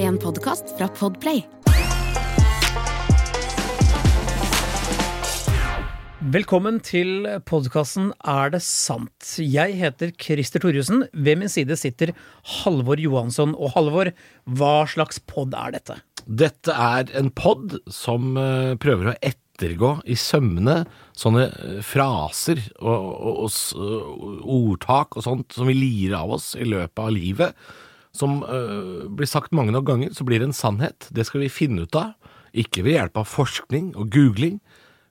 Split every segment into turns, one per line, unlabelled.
en podkast fra Podplay.
Velkommen til podkasten Er det sant? Jeg heter Christer Thorjussen. Ved min side sitter Halvor Johansson. Og Halvor, hva slags pod er dette?
Dette er en pod som eh, prøver å ettergå i sømmene sånne eh, fraser og, og, og s- og ordtak og sånt som vi lirer av oss i løpet av livet. Som eh, blir sagt mange nok ganger, så blir det en sannhet. Det skal vi finne ut av. Ikke ved hjelp av forskning og googling.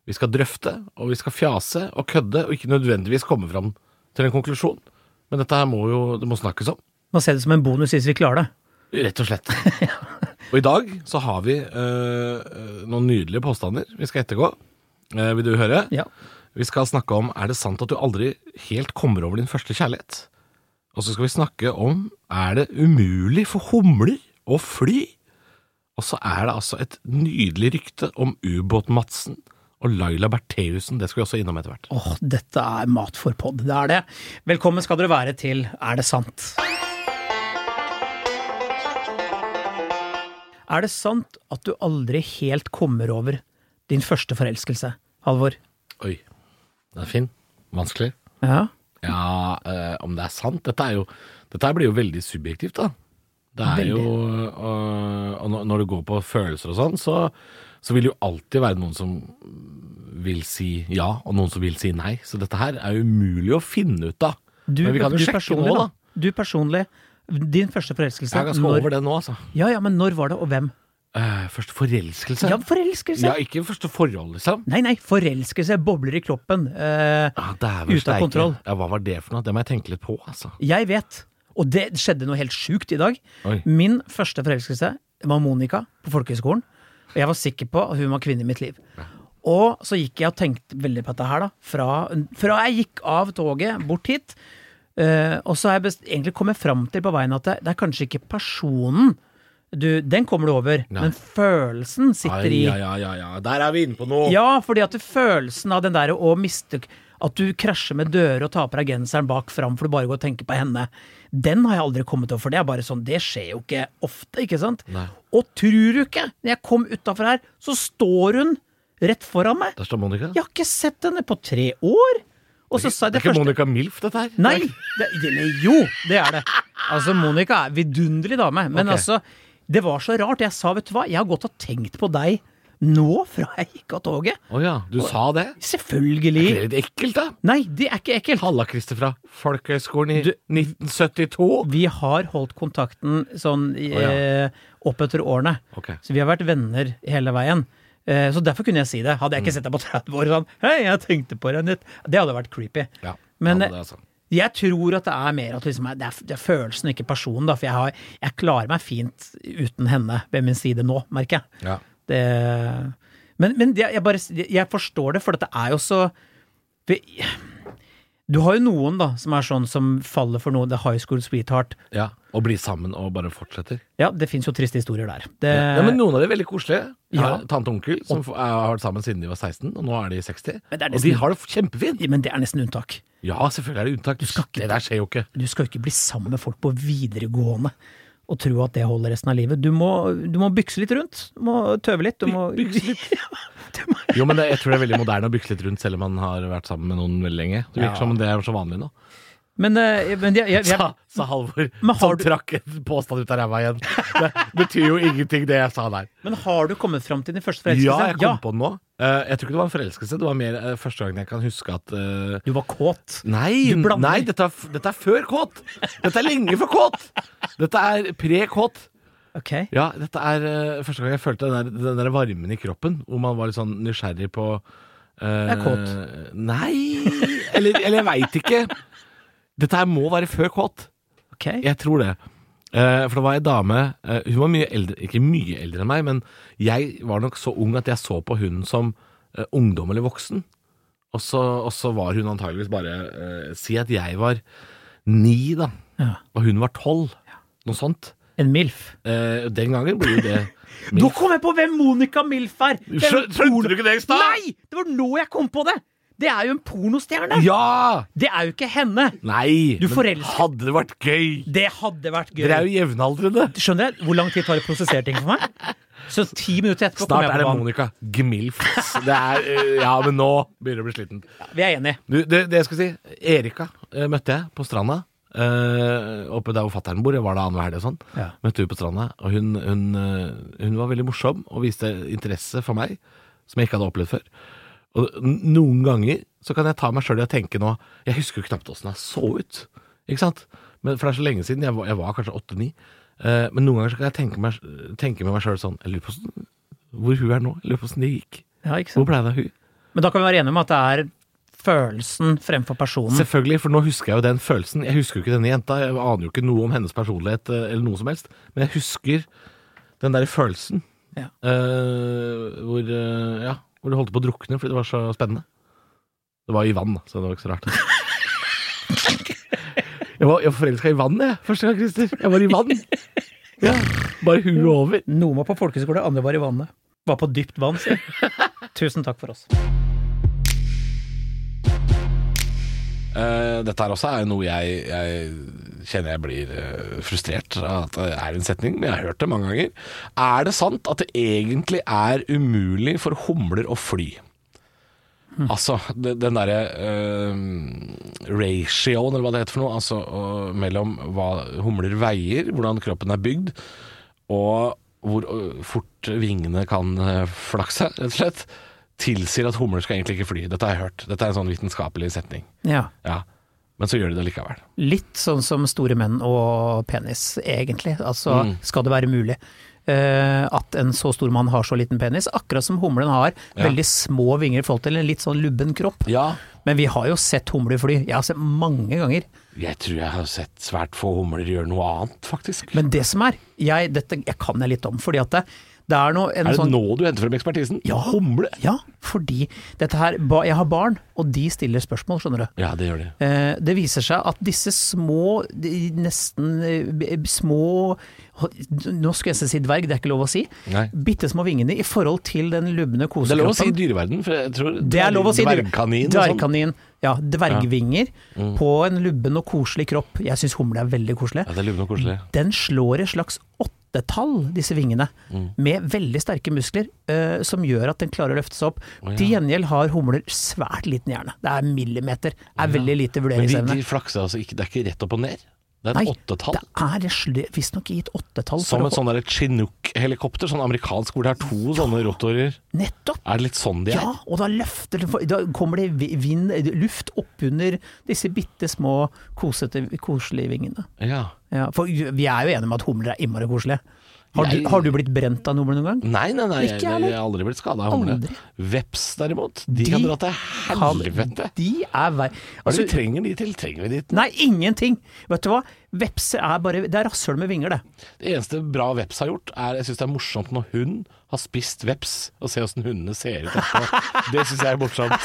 Vi skal drøfte, og vi skal fjase og kødde, og ikke nødvendigvis komme fram til en konklusjon. Men dette her må jo det må snakkes om.
Nå ser det som en bonus hvis vi klarer det.
Rett og slett. og i dag så har vi eh, noen nydelige påstander vi skal ettergå. Eh, vil du høre?
Ja.
Vi skal snakke om er det sant at du aldri helt kommer over din første kjærlighet. Og så skal vi snakke om er det umulig for humler å fly? Og så er det altså et nydelig rykte om Ubåt-Madsen og Laila Bertheussen. Det skal vi også innom etter hvert.
Åh, dette er mat for pod. Det er det. Velkommen skal dere være til Er det sant? Er det sant at du aldri helt kommer over din første forelskelse, Halvor?
Oi. Den er fin. Vanskelig.
Ja.
Ja, eh, om det er sant Dette, er jo, dette her blir jo veldig subjektivt, da. Det er
Veldig.
jo øh, Og når- når du går på følelser og sånn, så, så vil det jo alltid være noen som vil si ja, og noen som vil si nei. Så dette her er jo umulig å finne ut av.
Du,
Men vi kan jo
du
sjekke
personlig,
nå, da.
Du personlig, din første forelskelse.
Jeg er ganske
når,
over det nå, altså.
Ja, ja, men når var det, og hvem?
Eh, første forelskelse.
Ja, forelskelse!
Ja, ikke første forhold, liksom.
Nei, nei, forelskelse bobler i kroppen. Eh,
Ah, dæver
Ute av
steike.
kontroll.
Ja, hva var det for noe? Det må jeg tenke litt på, altså.
jeg vet, og det skjedde noe helt sjukt i dag.
Oi.
Min første forelskelse var Monica på folkehøyskolen. Og jeg var sikker på at hun var kvinne i mitt liv. Og så gikk jeg og tenkte veldig på dette her, da. Fra, fra jeg gikk av toget bort hit. eh, og så har jeg best, egentlig kommet fram til på veien at det, det er kanskje ikke personen du, Den kommer du over,
Nei.
men følelsen sitter i.
ja, ja, ja, ja. Der er vi inne på noe.
Ja, fordi at følelsen av den der å miste At du krasjer med dører og tar på deg genseren bak fram for du bare går og tenker på henne, den har jeg aldri kommet over. For det er bare sånn, det skjer jo ikke ofte, ikke sant?
Nei.
Og tror du ikke, når jeg kom utafor her, så står hun rett foran meg.
Der står Monica.
Jeg har ikke sett henne på tre år! Og så sa jeg
det
det
er ikke
første
Monica Milf, dette her?
Nei! Det, eller jo, det er det. Altså, Monica er vidunderlig dame. Men
Ok.
altså, det var så rart. Jeg sa, vet du hva, jeg har gått og tenkt på deg nå fra jeg gikk av toget.
Å ja, du sa det?
Selvfølgelig.
Det er litt ekkelt, da.
Nei, det er ikke ekkelt.
Halla, Christer fra Folkehøgskolen i 1972.
Vi har holdt kontakten sånn
ja.
eh, opp etter årene.
Ok.
Så vi har vært venner hele veien. Eh, så derfor kunne jeg si det. Hadde jeg
Mm.
ikke sett deg på 30 år sånn Hei, jeg tenkte på deg nytt. Det hadde vært creepy.
Ja,
Men
ja, det altså. er sant.
eh, jeg tror at det er mer at liksom, det, er, det er følelsen, ikke personen. Da, for jeg, har, jeg klarer meg fint uten henne ved min side nå, merker jeg.
Ja.
Det, men men det, jeg, bare, jeg forstår det, for dette er jo så vi- Du har jo noen da som er sånn som faller for noe, the high school sweetheart.
ja. Og bli sammen og bare fortsetter.
Ja, det fins jo triste historier der. Det,
Ja, men Noen av de er veldig koselige. Jeg har
Eh, Ja.
Tante og onkel som f- har vært sammen siden de var 16, og nå er de 60.
Men det er
og
nesten-
de har det kjempefint.
men det er nesten unntak.
Ja, selvfølgelig er det unntak.
skal ikke-
Det der skjer jo ikke.
Du skal jo ikke bli sammen med folk på videregående og tro at det holder resten av livet. Du må, du må bykse litt rundt. Du må tøve litt. Du må, du må
Jo, men det, Jeg tror det er veldig moderne å bykse litt rundt selv om man har vært sammen med noen veldig lenge. Det
Ja.
virker som om det er så vanlig nå.
Men, eh, men jeg, jeg, jeg,
Sa, sa Halvor,
Men har
som
du-
trakk en påstand ut av ræva igjen. Det betyr jo ingenting, det jeg sa der.
men har du kommet fram til din første
Ja,
forelskelse?
jeg kom på den nå. Eh, jeg tror ikke det var en forelskelse. Det var mer eh, første gangen jeg kan huske at eh,
Du var kåt.
Nei,
Du blander.
nei dette, er, f- dette er før kåt! Dette er lenge for kåt! Dette er pre-kåt.
Ok.
Ja, dette er eh, første gang jeg følte den der, den der varmen i kroppen, hvor man var litt sånn nysgjerrig på eh,
Jeg er kåt.
Nei Eller, eller jeg veit ikke. Dette her må være før kåt.
ok.
Jeg tror det. Eh, for det var ei dame eh, Hun var mye eldre Ikke mye eldre enn meg, men jeg var nok så ung at jeg så på hun som eh, ungdom eller voksen. Og så, og så var hun antageligvis bare eh, Si at jeg var ni, da.
Ja.
Og hun var tolv. Noe sånt.
En MILF.
Eh, den gangen blir jo det
Nå kom jeg på hvem Monica Milf er! Det er jo
Skjø- Skjønte du ikke det i stad?
Nei! Det var nå jeg kom på det! Det er jo en pornostjerne!
Ja!
Det er jo ikke henne!
Nei!
Du
men
forelsker-
Hadde det vært gøy?
Det hadde vært gøy.
Dere er jo jevnaldrende.
Skjønner jeg hvor lang tid tar det å prosessere ting for meg? Så ti minutter etterpå
Snart
kommer
er
jeg
det
på banen.
Monica Gmilfs. Det er, eh, ja, men nå begynner jeg å bli sliten.
Vi er enige.
Du, det, det jeg skal si Erika eh, møtte jeg på stranda. eh, oppe der hvor fatter'n bor. Jeg var der annenhver helg og sånn.
Ja.
Møtte hun på stranda, og hun, hun, eh, hun var veldig morsom og viste interesse for meg som jeg ikke hadde opplevd før. Og n- noen ganger så kan jeg ta meg sjøl i å tenke nå Jeg husker jo knapt åssen jeg så ut, ikke sant? Men, for det er så lenge siden. Jeg var, jeg var kanskje åtte-ni. eh, men noen ganger så kan jeg tenke, meg, tenke med meg sjøl sånn Jeg lurer på hvordan- hvor hun er nå. Jeg lurer på åssen det gikk.
Ja, ikke
Hvor
sant?
ble det av hun?
Men da kan vi være enige om at det er følelsen fremfor personen.
Selvfølgelig, for nå husker jeg jo den følelsen. Jeg husker jo ikke denne jenta, jeg aner jo ikke noe om hennes personlighet eh, eller noe som helst, men jeg husker den der følelsen
Ja.
eh, hvor, eh, ja, hvor det holdt på å drukne fordi det var så spennende. Det var i vann, da, så det var ikke så rart. Jeg var, jeg var forelska i vann, jeg, første gang, Christer. Jeg var i vann. Ja, bare huet over.
Noen var på folkeskole, andre var i vannet. Var på dypt vann, sier jeg. Tusen takk for oss.
Eh, dette her også er jo noe jeg, jeg kjenner jeg blir eh, frustrert av at det er en setning, men jeg har hørt det mange ganger. Er det sant at det egentlig er umulig for humler å fly? Altså, det, den derre eh, ratioen, eller hva det heter for noe, altså og, mellom hva humler veier, hvordan kroppen er bygd, og hvor eh, fort vingene kan eh, flakse, rett og slett, tilsier at humler skal egentlig ikke fly. Dette har jeg hørt. Dette er en sånn vitenskapelig setning.
Ja.
Ja, men så gjør de det likevel.
Litt sånn som store menn og penis, egentlig. Altså,
Mm.
skal det være mulig eh, at en så stor mann har så liten penis? Akkurat som humlen har
Ja.
veldig små vinger i forhold til en litt sånn lubben kropp.
Ja.
Men vi har jo sett humler fly. Jeg har sett mange ganger.
Jeg tror jeg har sett svært få humler gjøre noe annet, faktisk.
Men det som er jeg, Dette jeg kan jeg litt om, fordi at det, det er noe en
er det
sånn,
nå du henter frem ekspertisen?
Ja.
Humle?
Ja, fordi dette her ba- Jeg har barn, og de stiller spørsmål, skjønner du.
Ja, det gjør de.
Eh, Det viser seg at disse små, de- nesten eh, b- små Nå skulle jeg nesten si dverg, det er ikke lov å si.
Nei.
Bitte små vingene i forhold til den lubne
Det er lov å si
kosekroppen.
dyreverden, for jeg tror
Det er lov å si dverg-
dvergkanin og sånn. Mm.
Dvergkanin. Ja, dvergvinger på en lubben og koselig kropp. Jeg syns humle er veldig koselig.
Ja, det er lubne og koselig.
Den slår et slags åttetall, disse vingene,
Mm.
med veldig sterke muskler, eh, som gjør at den klarer å løfte seg opp. Til gjengjeld har humler svært liten hjerne. Det er millimeter. Er veldig lite
Men de,
vurderingsevne.
de flakser altså ikke, det er ikke rett opp og ned. Det er
Nei,
et åttetall.
Det er sl- visstnok i et åttetall. for
Som
å-
et sånn der Chinook-helikopter, sånn amerikansk hvor det er to sånne rotorer.
Nettopp!
Er det litt sånn de er?
Ja, og da løfter det for- Da kommer det vi- vind, luft oppunder disse bitte små kosete, koselige vingene.
Ja.
Ja, for vi er jo enige om at humler er innmari koselige. Har,
Jeg-
du- har du blitt brent av en humle noen gang?
Nei, nei, nei,
Ikke
jeg,
jeg
jeg, har aldri blitt skada av humle.
Aldri.
Veps derimot, de,
De
kan dra til
Kan-
helvete.
De er vei...
Hva er det
Altså,
vi trenger de til? Trenger vi de
Nei, ingenting! Vet du hva? Vepser er bare Det er rasshøl med vinger, det.
Det eneste bra veps har gjort, er jeg syns det er morsomt når hund har spist veps, og se åssen hundene ser ut etterpå. Det syns jeg er morsomt.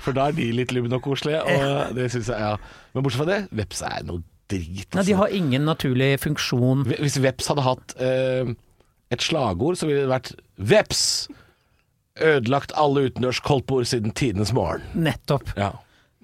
For da er de litt lubne og koselige, og det syns jeg, ja. Men bortsett fra det, veps er noe drit.
Nei, de
altså.
har ingen naturlig funksjon.
Hvis veps hadde hatt eh, et slagord, så ville det vært Veps! Ødelagt alle utendørs koldtbord siden tidenes morgen.
Nettopp.
Ja.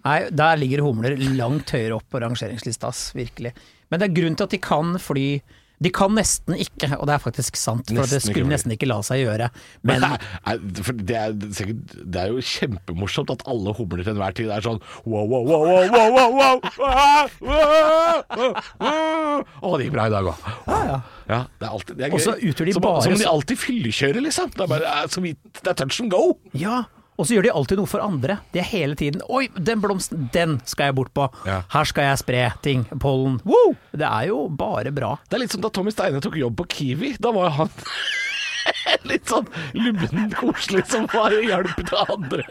Nei, der ligger humler langt høyere opp på rangeringslista, ass, virkelig. Men det er grunn til at de kan fly De kan nesten ikke, og det er faktisk sant, for
Nesten
det skulle
ikke fly.
nesten ikke la seg gjøre. Men
Men det er, er- for det, er, sikkert, det er jo kjempemorsomt at alle humler til enhver tid er sånn wow, wow, wow, wow, wow, wow, wow, ah, wow, wow, wow. Å, det gikk bra i dag òg.
ja.
Ja, det er alltid det er
Og
gøy.
så utgjør de
som,
bare
Som om de
så-
alltid fyllekjører, liksom. Det er, bare, det er så vidt, det er touch and go.
ja. Og så gjør de alltid noe for andre. De er hele tiden Oi, den blomsten, den skal jeg bort på.
Ja.
Her skal jeg spre ting. Pollen. Woo! Det er jo bare bra.
Det er litt som da Tommy Steine tok jobb på Kiwi. Da var han litt sånn lubben koselig som var hjelp til andre.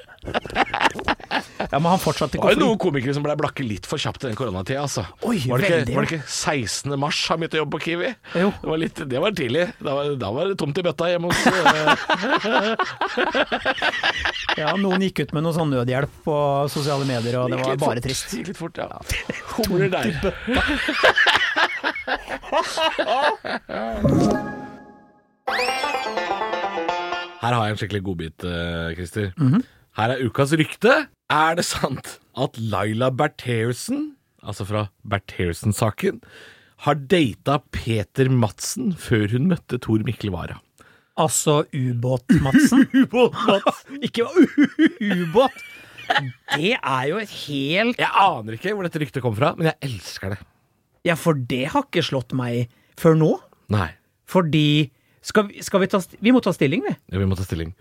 Ja, Men han fortsatte
Det
ikke
var
å
jo
fly.
noen komikere som ble blakke litt for kjapt i den koronatida, altså.
Oi,
var, det ikke,
veldig.
var det ikke 16. mars han begynte å jobbe på Kiwi?
Jo.
Det var, litt, det var tidlig. Da var, da var det tomt i bøtta hjemme hos eh,
Ja, Noen gikk ut med noe sånn nødhjelp på sosiale medier, og det
gikk
var
litt
bare
fort.
trist.
Gikk litt fort, ja. Humler der.
Mhm.
Her har jeg en skikkelig godbit, eh, Christer. Her er ukas rykte. Er det sant at Laila Bertheussen, altså fra Bertheussen-saken, har data Peter Madsen før hun møtte Tor Mikkel Wara?
Altså ubåt-Madsen. Ubåt-Mats. Ikke ubåt! Det er jo et helt
Jeg aner ikke hvor dette ryktet kom fra, men jeg elsker det.
Ja, for det har ikke slått meg før nå.
Nei.
Fordi skal vi, skal vi ta st- Vi må ta stilling, vi.
Vi må ta stilling.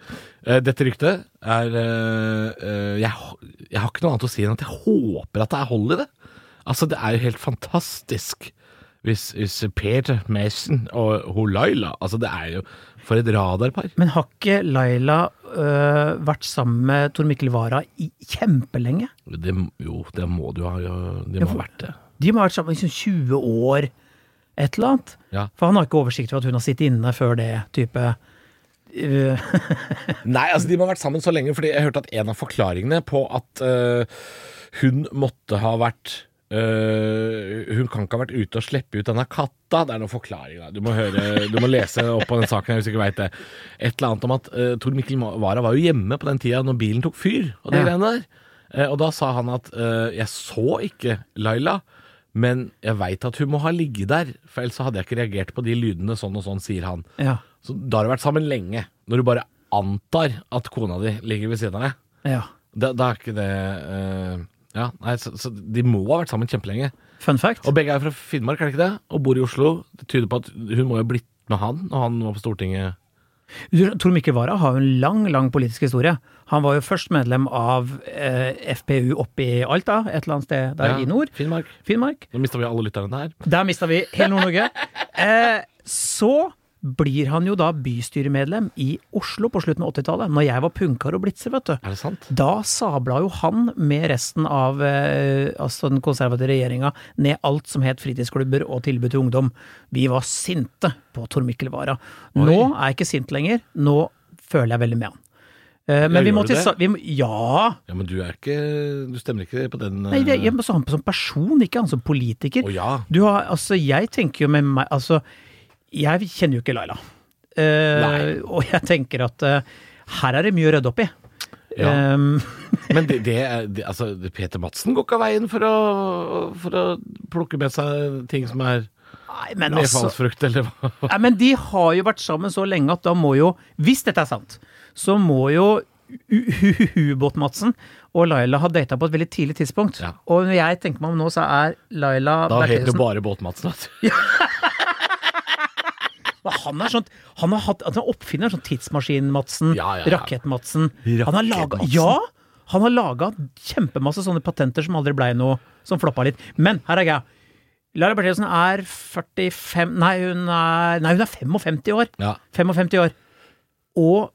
Eh, Dette ryktet er eh, eh, jeg, hå- jeg har ikke noe annet å si enn at jeg håper at det er hold i det. Altså, det er jo helt fantastisk hvis, hvis Peter Mason og hun Laila Altså, det er jo For et radarpar.
Men har ikke Laila øh, vært sammen med Tor Mikkel Wara i kjempelenge?
Det, jo, det må du ha jo, Det
Ja,
må
for-
ha vært det.
De må ha vært sammen i liksom 20 år, et eller annet.
Ja.
For han har ikke oversikt over at hun har sittet inne før det type øh,
Nei, altså de må ha vært sammen så lenge, fordi jeg hørte at en av forklaringene på at eh, hun måtte ha vært eh, Hun kan ikke ha vært ute og slippe ut denne katta. Det er noen forklaring, da. Du må, høre, du må lese opp på den saken her hvis du ikke veit det. Et eller annet om at eh, Tor Mikkel Wara var jo hjemme på den tida når bilen tok fyr og de
Ja.
greiene der. Eh, og da sa han at eh, 'jeg så ikke Laila'. Men jeg veit at hun må ha ligget der, for ellers så hadde jeg ikke reagert på de lydene sånn og sånn, sier han.
Ja.
Så da har du vært sammen lenge. Når du bare antar at kona di ligger ved siden av deg,
ja.
da, da er ikke det eh, Ja, nei, så, så de må ha vært sammen kjempelenge.
Fun fact.
Og begge er fra Finnmark, er det ikke det? Og bor i Oslo. Det tyder på at hun må jo ha blitt med han når han var på Stortinget.
Tor Mikkel Wara har jo en lang, lang politisk historie. Han var jo først medlem av eh, FPU oppe i Alta, et eller annet sted der
Ja,
i nord.
Finnmark.
Finnmark.
Nå mista vi alle lytterne der.
Der mista vi hele Nord-Norge. Eh, så blir han jo da bystyremedlem i Oslo på slutten av 80-tallet, når jeg var punkar og blitzer, vet du.
Er det sant?
Da sabla jo han med resten av eh, altså den konservative regjeringa ned alt som het fritidsklubber og tilbud til ungdom. Vi var sinte på Tor Mikkel Wara. Nå er jeg ikke sint lenger, nå føler jeg veldig med han. Eh, men
Ja,
vi
gjør
må
du
til
det?
sa- vi må, Ja!
Ja, men du er ikke Du stemmer ikke på den
Nei, det,
eh,
jeg må han som person, ikke han som politiker.
Å ja.
Du har, altså, jeg tenker jo med meg Altså, jeg kjenner jo ikke Laila. Eh,
Nei.
og jeg tenker at eh, her er det mye å rydde opp i.
Ja.
Ehm,
Men det, det, er- det Altså, Peter Madsen går ikke av veien for å, for å plukke med seg ting som er
nei, men altså
nedfallsfrukt, eller hva?
nei, Men de har jo vært sammen så lenge at da må jo Hvis dette er sant, så må jo U- U- Ubåt-Madsen og Laila ha data på et veldig tidlig tidspunkt.
Ja.
Og når jeg tenker meg om nå, så er Laila
Da heter det
Bertheussen
bare Båt-Madsen. vet du.
Han er sånn Han har hatt altså, oppfinner sånn Tidsmaskin-Madsen,
Ja, ja, ja.
Rakett-Madsen. Han har laga
Rakett-Madsen.
Ja! Han har laga kjempemasse sånne patenter som aldri blei noe, som floppa litt. Men her er greia. Lara Bertheussen er 45 Nei, hun er Nei, hun er 55 år.
Ja.
55 år. Og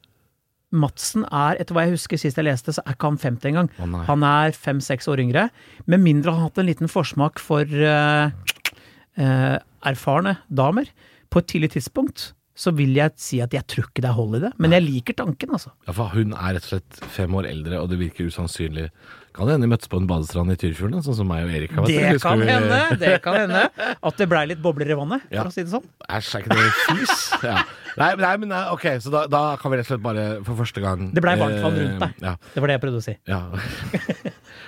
Madsen er, etter hva jeg husker sist jeg leste, så er ikke han 50 engang.
Å, nei.
han er fem-seks år yngre. Med mindre han har hatt en liten forsmak for eh, eh, erfarne damer på et tidlig tidspunkt, så vil jeg si at jeg tror ikke det er hold i det. Men jeg liker tanken, altså.
Ja, for hun er rett og slett fem år eldre, og det virker usannsynlig. Kan hende de møttes på en badestrand i Tyrfjorden, sånn som meg og Erik har vært.
Det
Husker
kan
vi-
hende det kan hende at det blei litt bobler i vannet,
Ja.
for å si det sånn.
Æsj, er ikke det fys? Ja. Nei, men- nei, men nei, ok, så da, da kan vi rett og slett bare for første gang
Det blei varmt vann rundt deg.
Eh, Ja.
Det var det jeg prøvde å si.
ja.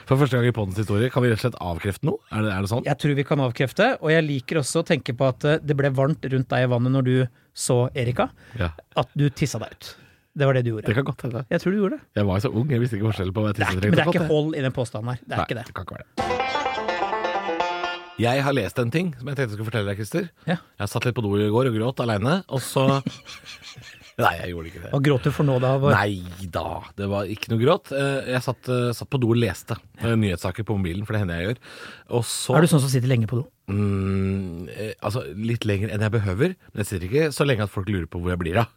For første gang i poddens historie, kan vi rett og slett avkrefte noe? Er det, er det sånn?
Jeg tror vi kan avkrefte, og jeg liker også å tenke på at eh, det ble varmt rundt deg i vannet når du så Erika,
Ja.
at du tissa deg ut. Det var det du gjorde.
Det kan godt hende.
Jeg tror du gjorde det.
Jeg var jo så ung, jeg visste ikke forskjell på hva jeg
det er,
tisset
ikke- men det er ikke hold i den påstanden her. Det er
Nei,
ikke det.
kan ikke være det. Jeg har lest en ting som jeg tenkte jeg skulle fortelle deg, Christer.
Ja.
Jeg satt litt på do i går og gråt aleine, og så Nei, jeg gjorde ikke det.
Hva gråter du for nå, da? Vår?
Nei da, det var ikke noe gråt. Eh, Jeg satt, eh, satt på do og leste eh, nyhetssaker på mobilen, for det hender jeg gjør. Og så
Er du sånn som sitter lenge på do?
mm, eh, Altså litt lenger enn jeg behøver, men jeg sitter ikke så lenge at folk lurer på hvor jeg blir av.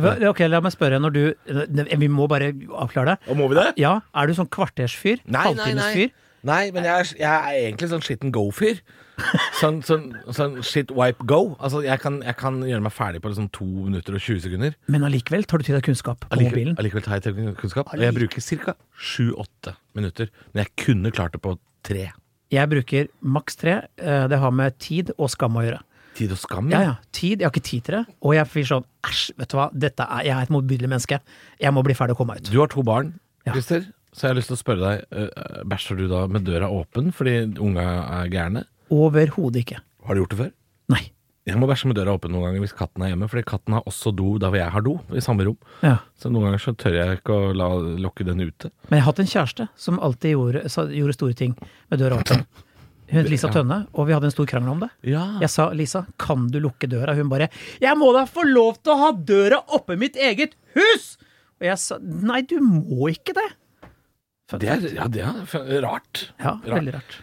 Hva- Ok, la meg spørre. Når du eh, Vi må bare avklare det.
Og må vi det?
Ja, er du sånn kvartersfyr?
Nei, nei, nei.
Halvtimesfyr?
Nei, men jeg er, jeg er egentlig sånn skitten go-fyr. Sånn, sånn, sånn shit wipe go. Altså, jeg kan, jeg kan gjøre meg ferdig på liksom 2 minutter og 20 sekunder.
Men allikevel tar du til deg kunnskap på
Allikevel,
mobilen?
allikevel tar jeg til kunnskap. Og jeg bruker ca. 7-8 minutter. Men jeg kunne klart det på 3.
Jeg bruker maks tre. eh, Det har med tid og skam å gjøre.
Tid og skam.
Ja, ja. Tid. Jeg har ikke tid til det. Og jeg blir sånn æsj, vet du hva. Dette er, jeg er et motbydelig menneske. Jeg må bli ferdig og komme meg ut.
Du har to barn. Christer, så jeg har lyst til å spørre deg, eh, bæsjer du da med døra åpen fordi unga er gærne?
Overhodet ikke.
Har du gjort det før?
Nei.
Jeg må bæsje med døra åpen noen ganger hvis katten er hjemme, fordi katten har også do der hvor jeg har do, i samme rom.
Ja.
Så noen ganger så tør jeg ikke å la lokke den ute.
Men jeg har hatt en kjæreste som alltid gjorde, sa, gjorde store ting med døra åpen. Hun het Lisa Tønne, og vi hadde en stor krangel om det.
Ja.
Jeg sa 'Lisa, kan du lukke døra?' Hun bare 'Jeg må da få lov til å ha døra oppe i mitt eget hus!' Og jeg sa 'Nei, du må ikke det'.
Det er, ja, det er f- rart.
Ja, veldig rart.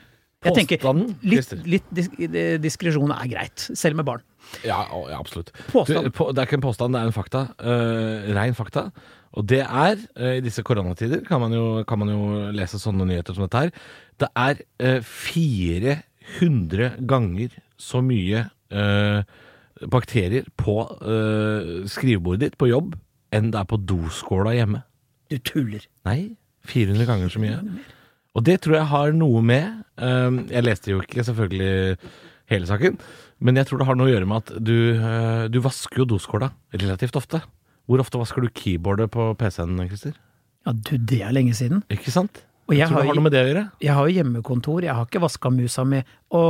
Jeg tenker
Påstanden,
litt,
Christer.
litt dis eh, diskresjon er greit, selv med barn.
Ja, å, ja absolutt.
Påstand.
Du, på, det er ikke en påstand, det er en fakta. Uh, rein fakta. Og det er, eh, i disse koronatider kan man, jo, kan man jo lese sånne nyheter som dette her, det er eh, 400 ganger så mye eh, bakterier på eh, skrivebordet ditt på jobb enn det er på doskåla hjemme.
Du tuller.
Nei, 400 ganger så mye. Og det tror jeg har noe med ehm, Jeg leste jo ikke selvfølgelig hele saken, men jeg tror det har noe å gjøre med at du, eh, du vasker jo doskåla relativt ofte. Hvor ofte vasker du keyboardet på PC-en, Christer?
Ja, du, det er lenge siden.
Ikke sant?
Og jeg
tror
har
det har
jo-
noe med det å gjøre.
Jeg har jo hjemmekontor, jeg har ikke vaska musa mi. Å,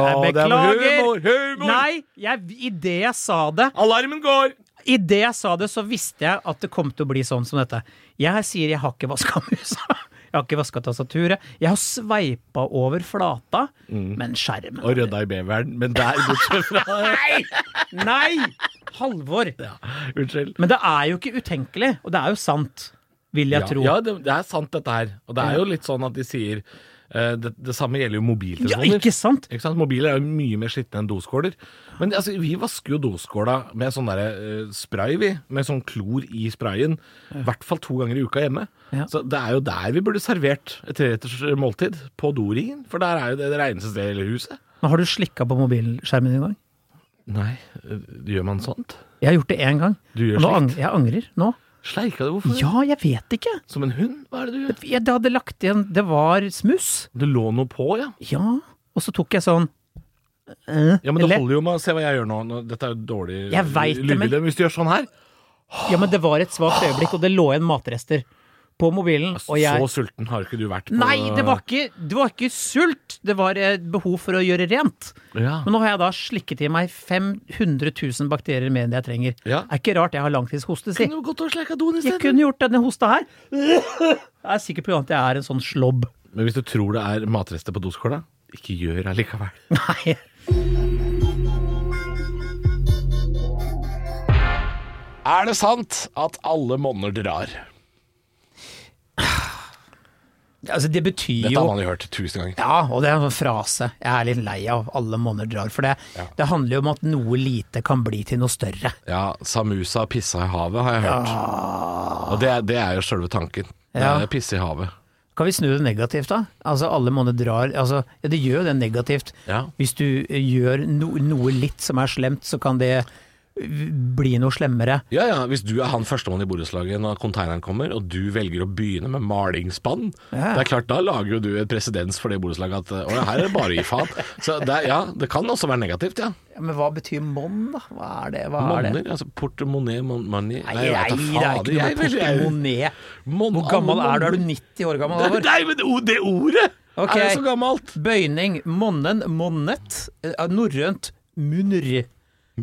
jeg
Å, det er
beklager!
humor, humor!
Nei, jeg, i det jeg sa det,
Alarmen går!
Idet jeg sa det, så visste jeg at det kom til å bli sånn som dette. Jeg sier jeg har ikke vaska musa. Jeg har ikke vaska tastaturet. Jeg har sveipa over flata,
Mm.
men skjermen
Og rydda i beveren, men der, bortsett fra
Nei! Nei! Halvor.
Unnskyld.
Men det er jo ikke utenkelig, og det er jo sant, vil jeg
ja,
tro.
ja det, det er sant, dette her. Og det er jo litt sånn at de sier eh, det, det samme gjelder jo
Ja,
mobiltelefoner.
ikke sant?
Ikke sant? Mobiler er jo mye mer skitne enn doskåler. Men altså, vi vasker jo doskåla med sånn derre eh, spray, vi. Med sånn klor i sprayen. I hvert fall to ganger i uka hjemme.
Ja.
Så det er jo der vi burde servert et treretters eh, måltid. På doringen. For der er jo det det reneste stedet i hele huset.
Men har du slikka på mobilskjermen din en gang?
Nei, eh, gjør man sånt?
Jeg har gjort det én gang.
Du gjør
og nå
slikt.
ang jeg angrer nå.
Sleika du? Hvorfor?
Ja, jeg vet ikke.
Som en hund? Hva er det du gjør?
Jeg, det hadde lagt igjen Det var smuss.
Du lå noe på, ja.
Ja. Og så tok jeg sånn eh,
Ja, men Det
eller-
holder jo med å se hva jeg gjør nå. nå dette er jo dårlig eh,
Jeg vet det, men-
lydbilde. Hvis du gjør sånn her,
Ja, men det var et svakt øyeblikk, og det lå igjen matrester på mobilen. Og jeg
Ah, så sulten har ikke du vært på
Nei, det var ikke, det var ikke sult! Det var et behov for å gjøre rent.
ja.
Men nå har jeg da slikket i meg 500 000 bakterier mer enn det jeg trenger.
Ja.
Er ikke rart jeg har langtidshoste, si.
Kunne du gått og sleika doen
Jeg
isteden?
kunne gjort denne hosta her. Jeg er sikker på at jeg er en sånn slobb.
Men hvis du tror det er matrester på doskåla, ikke gjør det likevel.
Nei.
Er det sant at alle monner drar?
Altså, det betyr
Dette
jo
har man jo hørt tusen ganger.
Ja, og det er en sånn frase jeg er litt lei av. Alle måneder drar. For det, det handler jo om at noe lite kan bli til noe større.
Ja, Samusa pissa i havet har jeg hørt. Og det, er- det er jo sjølve tanken. Det
Ja.
er Pisse i havet.
Kan vi snu det negativt, da? Altså, alle måneder drar altså, ja, Det gjør jo det negativt.
Ja.
Hvis du eh, gjør no, noe litt som er slemt, så kan det eh, bli noe slemmere.
Ja, ja, Hvis du er han førstemann i borettslaget når konteineren kommer, og du velger å begynne med malingsspann,
Ja.
det er klart da lager jo du et presedens for det borettslaget at å ja, her er det bare å gi faen. Så det, er- ja, det kan også være negativt, ja.
Ja, men hva betyr monn, da? Hva er det? Hva er det?
Monner, altså portemonnaie, mon
Nei,
money
nei, det er ikke noe med portemonnaie.
Mon-
Hvor gammel
alle
er du? Er du 90 år gammel? Halvor?
Nei, men o- det ordet!
Ok.
Er det så gammelt?
Bøyning. Monnen, monnet. eh, Norrønt munr.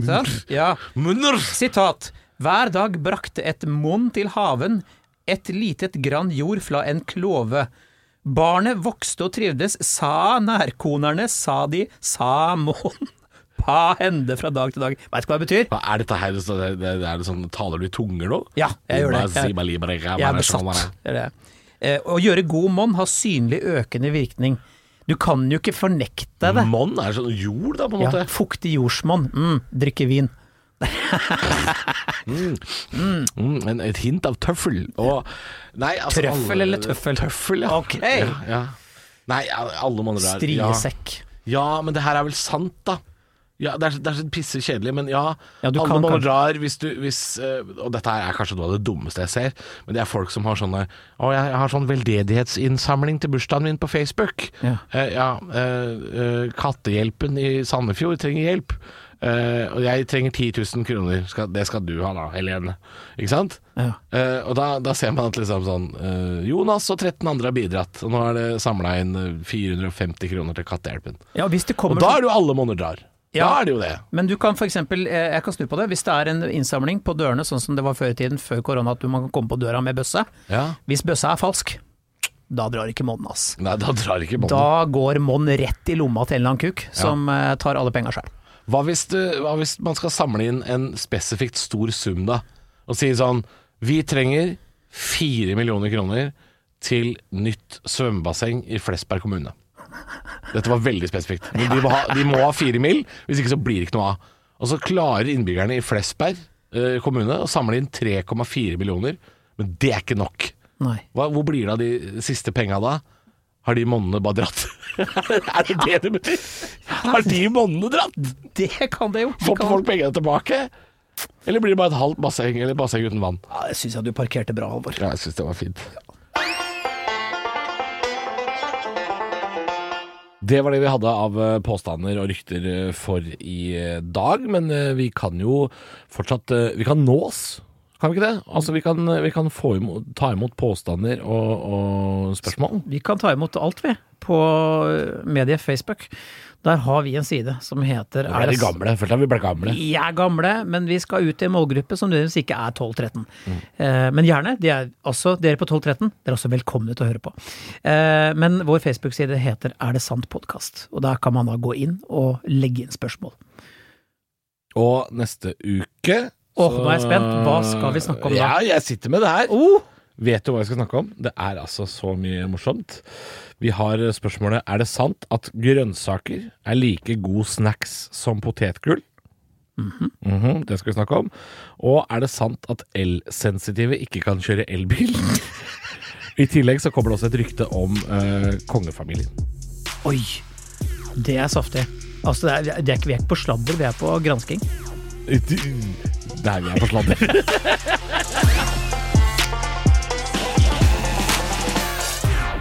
Sant? Ja.
Munner!
Sitat. Hver dag brakte et monn til haven, et litet grann jord fra en klove. Barnet vokste og trivdes, sa nærkonerne, sa de, sa monn. Pa hende fra dag til dag. Veit ikke hva det betyr?
Hva er dette her? Så det, det, det er det sånn, taler du i tunger nå?
Ja, jeg gjør det. Jeg-
Jeg,
Jeg er
sånn
besatt. Det er det. Eh, Å gjøre god monn har synlig økende virkning. Du kan jo ikke fornekte det.
Monn er sånn jord, da, på en
Ja,
måte.
fuktig jordsmonn. Mm, drikke vin.
Mm, en, et hint av tøffel. Og, nei, altså,
Trøffel
alle-
eller tøffel?
Tøffel, ja.
Ok.
ja, ja. Nei, al- alle monner er
Striesekk.
Ja. ja, men det her er vel sant, da. Ja, det er, så- det er så pisse kjedelig, men ja.
Ja, du
alle
kan
monner
kanskje-
drar hvis du hvis, eh, Og dette her er kanskje noe av det dummeste jeg ser, men det er folk som har sånne Å, jeg har sånn veldedighetsinnsamling til bursdagen min på Facebook.
Ja.
Eh, ja eh, eh, kattehjelpen i Sandefjord trenger hjelp. Eh, og jeg trenger 10 000 kroner, skal, det skal du ha da, Helene. Ikke sant?
Ja.
Eh, og da, da ser man at liksom sånn eh, Jonas og 13 andre har bidratt, og nå er det samla inn eh, 450 kroner til Kattehjelpen.
Ja, hvis det kommer
Og da er det jo alle monner drar. Da
Ja.
er det jo det.
Men du kan f.eks., jeg kan snu på det, hvis det er en innsamling på dørene sånn som det var før i tiden, før korona, at du- man kan komme på døra med bøsse.
Ja.
Hvis bøssa er falsk, da drar ikke monnen, ass.
Nei, da drar ikke båndet.
Da går monn rett i lomma til en eller annen kuk som eh, tar alle penga sjøl.
Hva hvis, du, hva hvis man skal samle inn en spesifikt stor sum da, og si sånn Vi trenger fire millioner kroner til nytt svømmebasseng i Flesberg kommune. Dette var veldig spesifikt. Men de må ha, de må ha fire mil, hvis ikke så blir det ikke noe av. Og så klarer innbyggerne i Flesberg eh, kommune å samle inn 3,4 millioner, men det er ikke nok.
Nei.
Hva, hvor blir det av de siste penga da? Har de monnene bare dratt? er det det du mener? Har de monnene dratt?
Det kan det jo. Det
Får
kan-
folk pengene tilbake? Eller blir det bare et halvt basseng eller basseng uten vann?
Ja, det syns jeg du parkerte bra, Halvor.
Ja, jeg syns det var fint. Det var det vi hadde av eh, påstander og rykter eh, for i eh, dag, men eh, vi kan jo fortsatt eh, Vi kan nås, kan vi ikke det? Altså, vi kan, vi kan få imot, ta imot påstander og, og spørsmål.
Vi kan ta imot alt, vi, på eh, mediet Facebook. Der har vi en side som heter
Vi er de gamle. Følte jeg vi ble gamle.
Vi er gamle, men vi skal ut til en målgruppe som nødvendigvis ikke er 12-13. Eh, men gjerne. De er også, dere på 12-13, dere er også velkomne til å høre på. Eh, men vår Facebook-side heter Er det sant podkast? Og der kan man da gå inn og legge inn spørsmål.
Og neste uke
Åh,
så-
nå er jeg spent. Hva skal vi snakke om da?
Ja, jeg sitter med det her.
Oh!
Vet du hva jeg skal snakke om? Det er altså så mye morsomt. Vi har spørsmålet Er det sant at grønnsaker er like god snacks som potetgull? Mhm, det skal vi snakke om. Og er det sant at elsensitive ikke kan kjøre elbil? I tillegg så kommer det også et rykte om eh, kongefamilien.
Oi! Det er saftig. Altså, det er, det er ikke, vi er ikke på sladder, vi er på gransking.
Der vi er på sladder.